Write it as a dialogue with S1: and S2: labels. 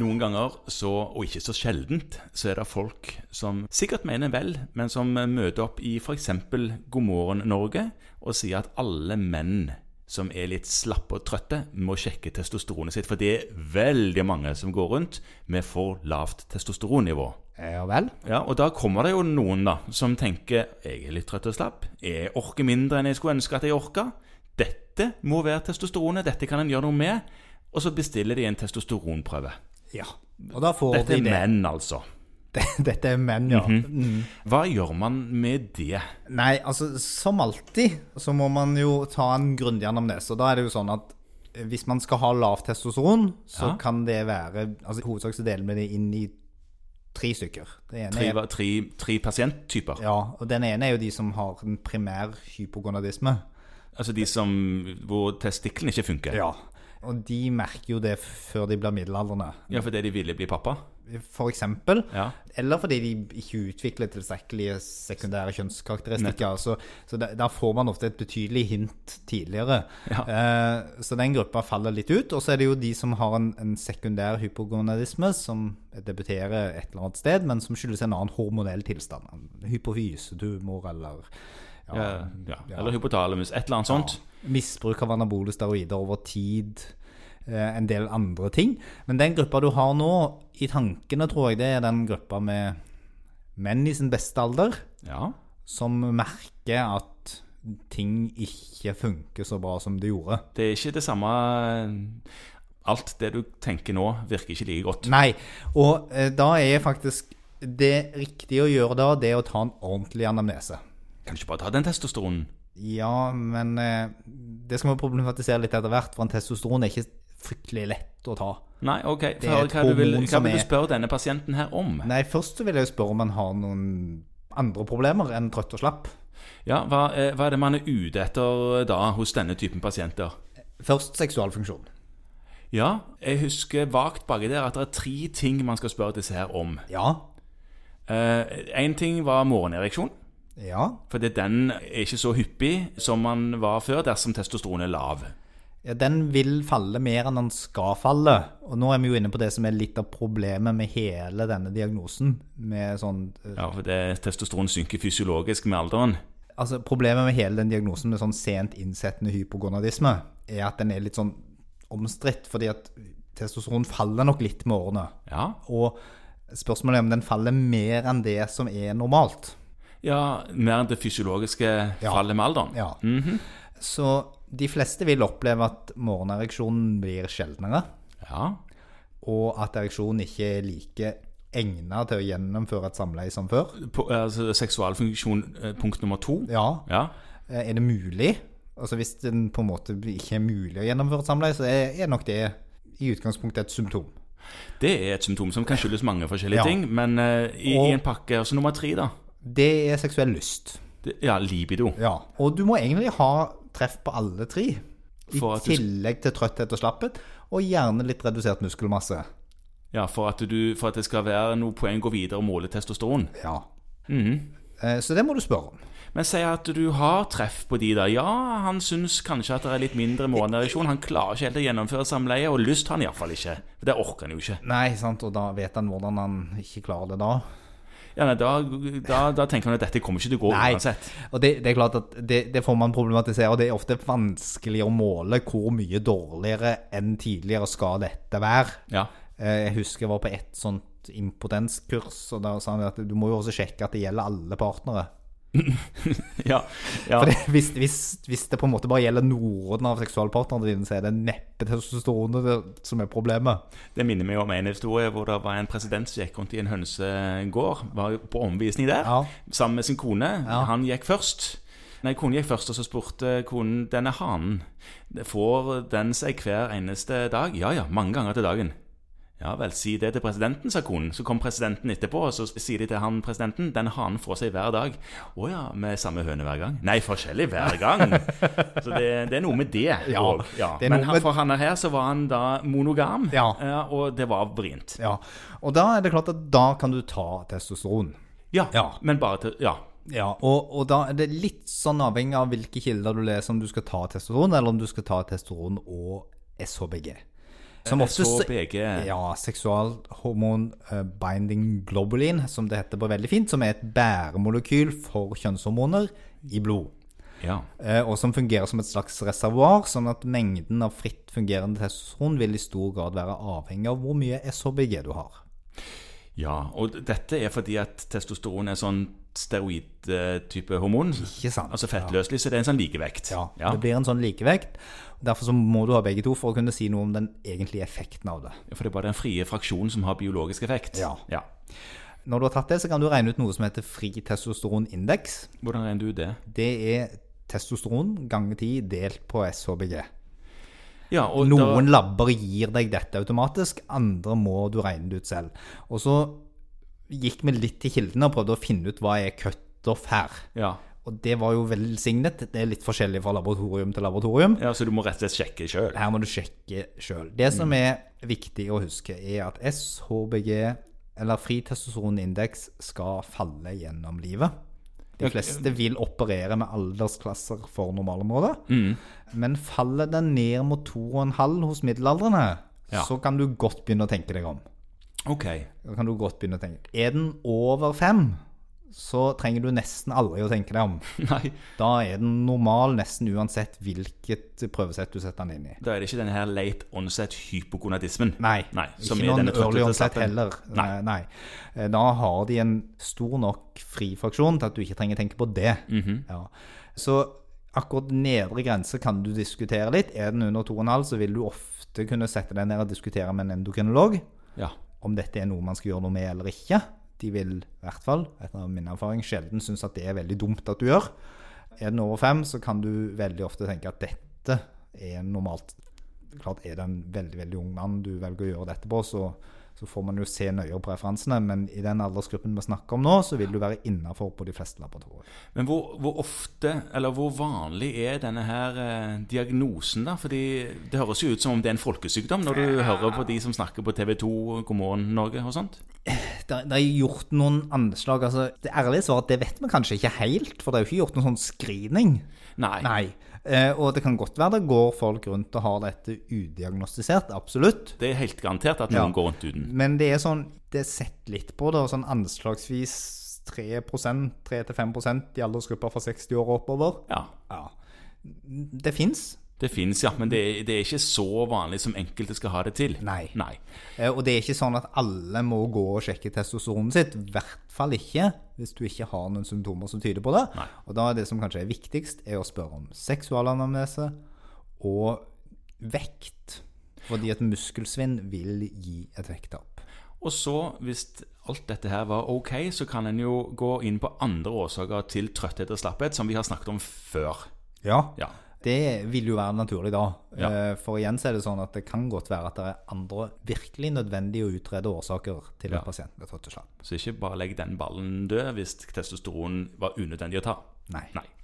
S1: noen ganger, så, og ikke så sjeldent, så er det folk som sikkert mener vel, men som møter opp i f.eks. God morgen Norge og sier at alle menn som er litt slappe og trøtte, må sjekke testosteronet sitt. For det er veldig mange som går rundt med for lavt testosteronnivå.
S2: Ja vel?
S1: Ja, Og da kommer det jo noen da, som tenker jeg er litt trøtt og slapp. Jeg orker mindre enn jeg skulle ønske at jeg orka. Dette må være testosteronet. Dette kan en gjøre noe med. Og så bestiller de en testosteronprøve.
S2: Ja. Og da får
S1: Dette
S2: de
S1: er
S2: det.
S1: menn, altså.
S2: Dette er menn, ja. Mm.
S1: Hva gjør man med det?
S2: Nei, altså som alltid så må man jo ta en grundig anamnese. Og da er det jo sånn at hvis man skal ha lavt testosteron, så
S1: Ja.
S2: kan det være altså I hovedsak så deler vi det inn i tre stykker. Det ene
S1: Tre,
S2: er,
S1: tre, tre pasienttyper?
S2: ja, og den ene er jo de som har en primær hypogonadisme.
S1: Altså de som, hvor testiklene ikke funker?
S2: Ja. Og de merker jo det før de blir middelaldrende,
S1: ja fordi de ville bli pappa?
S2: for eksempel.
S1: Ja.
S2: Eller fordi de ikke utvikler tilstrekkelige sekundære kjønnskarakteristikker. Så, så der, der får man ofte et betydelig hint tidligere. Eh, så den gruppa faller litt ut. Og så er det jo de som har en, en sekundær hypogonadisme, som debuterer et eller annet sted, men som skyldes en annen hormonell tilstand. Hypofysetumor eller ja,
S1: Ja, ja. Eller hypotalamus. Et eller annet sånt.
S2: misbruk av anabole steroider over tid, eh, en del andre ting. Men den gruppa du har nå, i tankene tror jeg det er den gruppa med menn i sin beste alder,
S1: Ja.
S2: som merker at ting ikke funker så bra som det gjorde.
S1: Det er ikke det samme Alt det du tenker nå, virker ikke like godt.
S2: Nei, og eh, da er faktisk det riktige å gjøre da, det å ta en ordentlig anamnese.
S1: Kan du ikke bare ta den testosteronen?
S2: Ja, men eh, det skal vi problematisere litt etter hvert, for en testosteron er ikke fryktelig lett å ta.
S1: Nei, ok.
S2: er
S1: Hør,
S2: et
S1: hva du vil,
S2: hormon
S1: hva
S2: som
S1: vil du
S2: er-
S1: spørre denne pasienten her om?
S2: Nei, først så vil jeg jo spørre om han har noen andre problemer enn trøtt og slapp.
S1: Ja, hva, eh, hva er det man er ute etter da hos denne typen pasienter?
S2: Først seksualfunksjon.
S1: Ja, jeg husker vagt baki der at det er tre ting man skal spørre disse her om.
S2: Ja.
S1: Én ting var morgenereksjon.
S2: Ja.
S1: For det- den er ikke så hyppig som den var før dersom testosteron er lav.
S2: ja. Den vil falle mer enn den skal falle. Og nå er vi jo inne på det som er litt av problemet med hele denne diagnosen. Med sånn, eh,
S1: Ja, for det, testosteron synker fysiologisk med alderen.
S2: altså problemet med hele den diagnosen med sånn sent innsettende hypogonadisme, er at den er litt sånn omstridt, fordi at testosteron faller nok litt med årene.
S1: Ja,
S2: Og spørsmålet er om den faller mer enn det som er normalt.
S1: ja mer enn det fysiologiske fallet med alderen.
S2: Ja.
S1: Mhm.
S2: Så de fleste vil oppleve at morgenereksjonen blir sjeldnere,
S1: Ja,
S2: og at ereksjonen ikke er like egnet til å gjennomføre et samleie som før.
S1: På, altså, Seksualfunksjon eh, punkt nummer to.
S2: Ja.
S1: Ja.
S2: Eh, Er det mulig? Altså Hvis den på en måte ikke er mulig å gjennomføre et samleie, så er er nok det i utgangspunktet et symptom.
S1: Det er et symptom som kan skyldes mange forskjellige
S2: Ja.
S1: ting, men eh, i,
S2: Og-
S1: i en pakke Og så nummer tre, da.
S2: Det er seksuell lyst.
S1: Det, ja, libido.
S2: Ja. Og du må egentlig ha treff på alle tre. I
S1: For at du-
S2: tillegg til trøtthet og slapphet, og gjerne litt redusert muskelmasse.
S1: Ja, for at, du, for at det skal være noe poeng å gå videre og måle testosteron.
S2: Ja.
S1: Mhm.
S2: Eh, Så det må du spørre om.
S1: Men si at du har treff på de der. Ja, han syns kanskje at det er litt mindre morgenereksjon. Han klarer ikke helt å gjennomføre samleie, og lyst har han iallfall ikke. For det orker han jo ikke.
S2: Nei, sant, og da vet han hvordan han ikke klarer det da.
S1: Ja, nei, da, da, da tenker han at dette kommer ikke til å gå
S2: Nei,
S1: uansett.
S2: og det, det er klart at det, det får man problematisere, og det er ofte vanskelig å måle hvor mye dårligere enn tidligere skal dette være.
S1: Ja.
S2: Eh, Jeg husker jeg var på et sånt impotenskurs, og da sa han at du må jo også sjekke at det gjelder alle partnere.
S1: ja, ja.
S2: For det, hvis, hvis, hvis det på en måte bare gjelder noen av seksualpartnerne dine, så er det neppe testosteronet det- som er problemet.
S1: Det minner meg om en historie hvor det var en president som gikk rundt i en hønsegård. Var jo på omvisning der,
S2: Ja.
S1: sammen med sin kone. Han gikk først. Nei, Konen gikk først, og så spurte konen denne hanen Får den seg hver eneste dag? Ja ja, mange ganger til dagen. Ja vel, si det til presidenten, sa konen. Så kom presidenten etterpå, og så sier de til han presidenten den hanen får seg hver dag. Å ja, med samme høne hver gang? Nei, forskjellig hver gang. Så det, det er noe med det.
S2: Ja,
S1: og- ja.
S2: det er
S1: Men
S2: noe
S1: han,
S2: med-
S1: for han her så var han da monogam,
S2: Ja.
S1: eh, og det var vrient.
S2: Ja, og da er det klart at da kan du ta testosteron.
S1: Ja,
S2: Ja.
S1: men bare til Ja.
S2: Ja, og, og da er det litt sånn avhengig av hvilke kilder du leser, om du skal ta testosteron, eller om du skal ta testosteron og SHBG. Som oftest
S1: SHBG.
S2: Ja, seksualhormon eh, binding globulin, som det heter på veldig fint, som er et bæremolekyl for kjønnshormoner i blod.
S1: Ja.
S2: Eh, Og som fungerer som et slags reservoar, sånn at mengden av fritt fungerende testosteron vil i stor grad være avhengig av hvor mye SHBG du har.
S1: ja. Og dette er fordi at testosteron er sånn steroid-type hormon.
S2: Ikke sant?
S1: Altså fettløselig, så det er en sånn likevekt.
S2: Ja, Det blir en sånn likevekt. Derfor så må du ha begge to for å kunne si noe om den egentlige effekten av det.
S1: For det er bare den frie fraksjonen som har biologisk effekt.
S2: Ja. Når du har tatt det, så kan du regne ut noe som heter fri testosteronindeks.
S1: Hvordan regner du det?
S2: Det er testosteron ganger 10 delt på SHBG.
S1: Ja, og
S2: Noen labber gir deg dette automatisk, andre må du regne det ut selv. Og så gikk vi litt til kildene og prøvde å finne ut hva er cutoff her.
S1: da, ja.
S2: Og det var jo velsignet. Det er litt forskjellig fra laboratorium til laboratorium.
S1: ja, så du må rett og slett sjekke sjøl.
S2: Her må du sjekke sjøl. Det som er viktig å huske, er at SHBG, eller fri testosteronindeks, skal falle gjennom livet. De fleste vil operere med aldersklasser for normalområdet. Men faller den ned mot 2,5 hos middelaldrende,
S1: Ja.
S2: så kan du godt begynne å tenke deg om.
S1: Ok.
S2: Da kan du godt begynne å tenke. Er den over 5, så trenger du nesten aldri å tenke deg om.
S1: Nei,
S2: Da er den normal nesten uansett hvilket prøvesett du setter den inn i.
S1: da er det ikke denne her late onset hypokonadismen.
S2: Nei,
S1: Nei som er
S2: ikke noen
S1: denne
S2: early onset
S1: trøtthetsetappen.
S2: heller.
S1: Nei.
S2: Eh, Nei. Eh, Da har de en stor nok frifraksjon til at du ikke trenger tenke på det.
S1: Mhm.
S2: ja. Så akkurat nedre grense kan du diskutere litt. Er den under 2,5, så vil du ofte kunne sette deg ned og diskutere med en endokrinolog
S1: Ja.
S2: om dette er noe man skal gjøre noe med eller ikke. De vil i hvert fall, etter min erfaring, sjelden synes at det er veldig dumt at du gjør. Er den over 5, så kan du veldig ofte tenke at dette er normalt klart er det en veldig, veldig ung mann du velger å gjøre dette på, så, så får man jo se nøyere på referansene, men i den aldersgruppen vi snakker om nå, så vil du være innenfor på de fleste laboratorier.
S1: Men hvor, hvor ofte, eller hvor vanlig er denne her eh, diagnosen, da? Fordi det høres jo ut som om det er en folkesykdom når du hører på de som snakker på TV 2, God morgen Norge og sånt.
S2: Det det er gjort noen anslag, altså det ærlige svaret, det vet vi kanskje ikke helt, for det er jo ikke gjort noen sånn screening.
S1: Nei.
S2: Nei. Eh, og det kan godt være det går folk rundt og har dette udiagnostisert, absolutt.
S1: Det er helt garantert at noen
S2: Ja.
S1: går rundt uten.
S2: Men det er sånn, det er sett litt på det, og sånn anslagsvis 3 3-5 i aldersgruppa fra 60 år og oppover.
S1: Ja.
S2: Ja. Det fins,
S1: Det fins, ja. Men det, er- det er ikke så vanlig som enkelte skal ha det til.
S2: Nei.
S1: Nei.
S2: Eh, Og det er ikke sånn at alle må gå og sjekke testosteronet sitt. I hvert fall ikke hvis du ikke har noen symptomer som tyder på det. Og da er det som kanskje er viktigst, er å spørre om seksualanamnese og vekt. Fordi at muskelsvinn vil gi et vekttap.
S1: Og så, hvis alt dette her var ok, så kan en jo gå inn på andre årsaker til trøtthet og slapphet, som vi har snakket om før.
S2: Ja.
S1: Ja.
S2: Det vil jo være naturlig da.
S1: Ja.
S2: Eh, For igjen så er det sånn at det kan godt være at det er andre virkelig nødvendige å utrede årsaker til at
S1: Ja.
S2: pasienten blir trøtt og slapp.
S1: Så ikke bare legg den ballen død hvis testosteron var unødvendig å ta.
S2: Nei.
S1: Nei.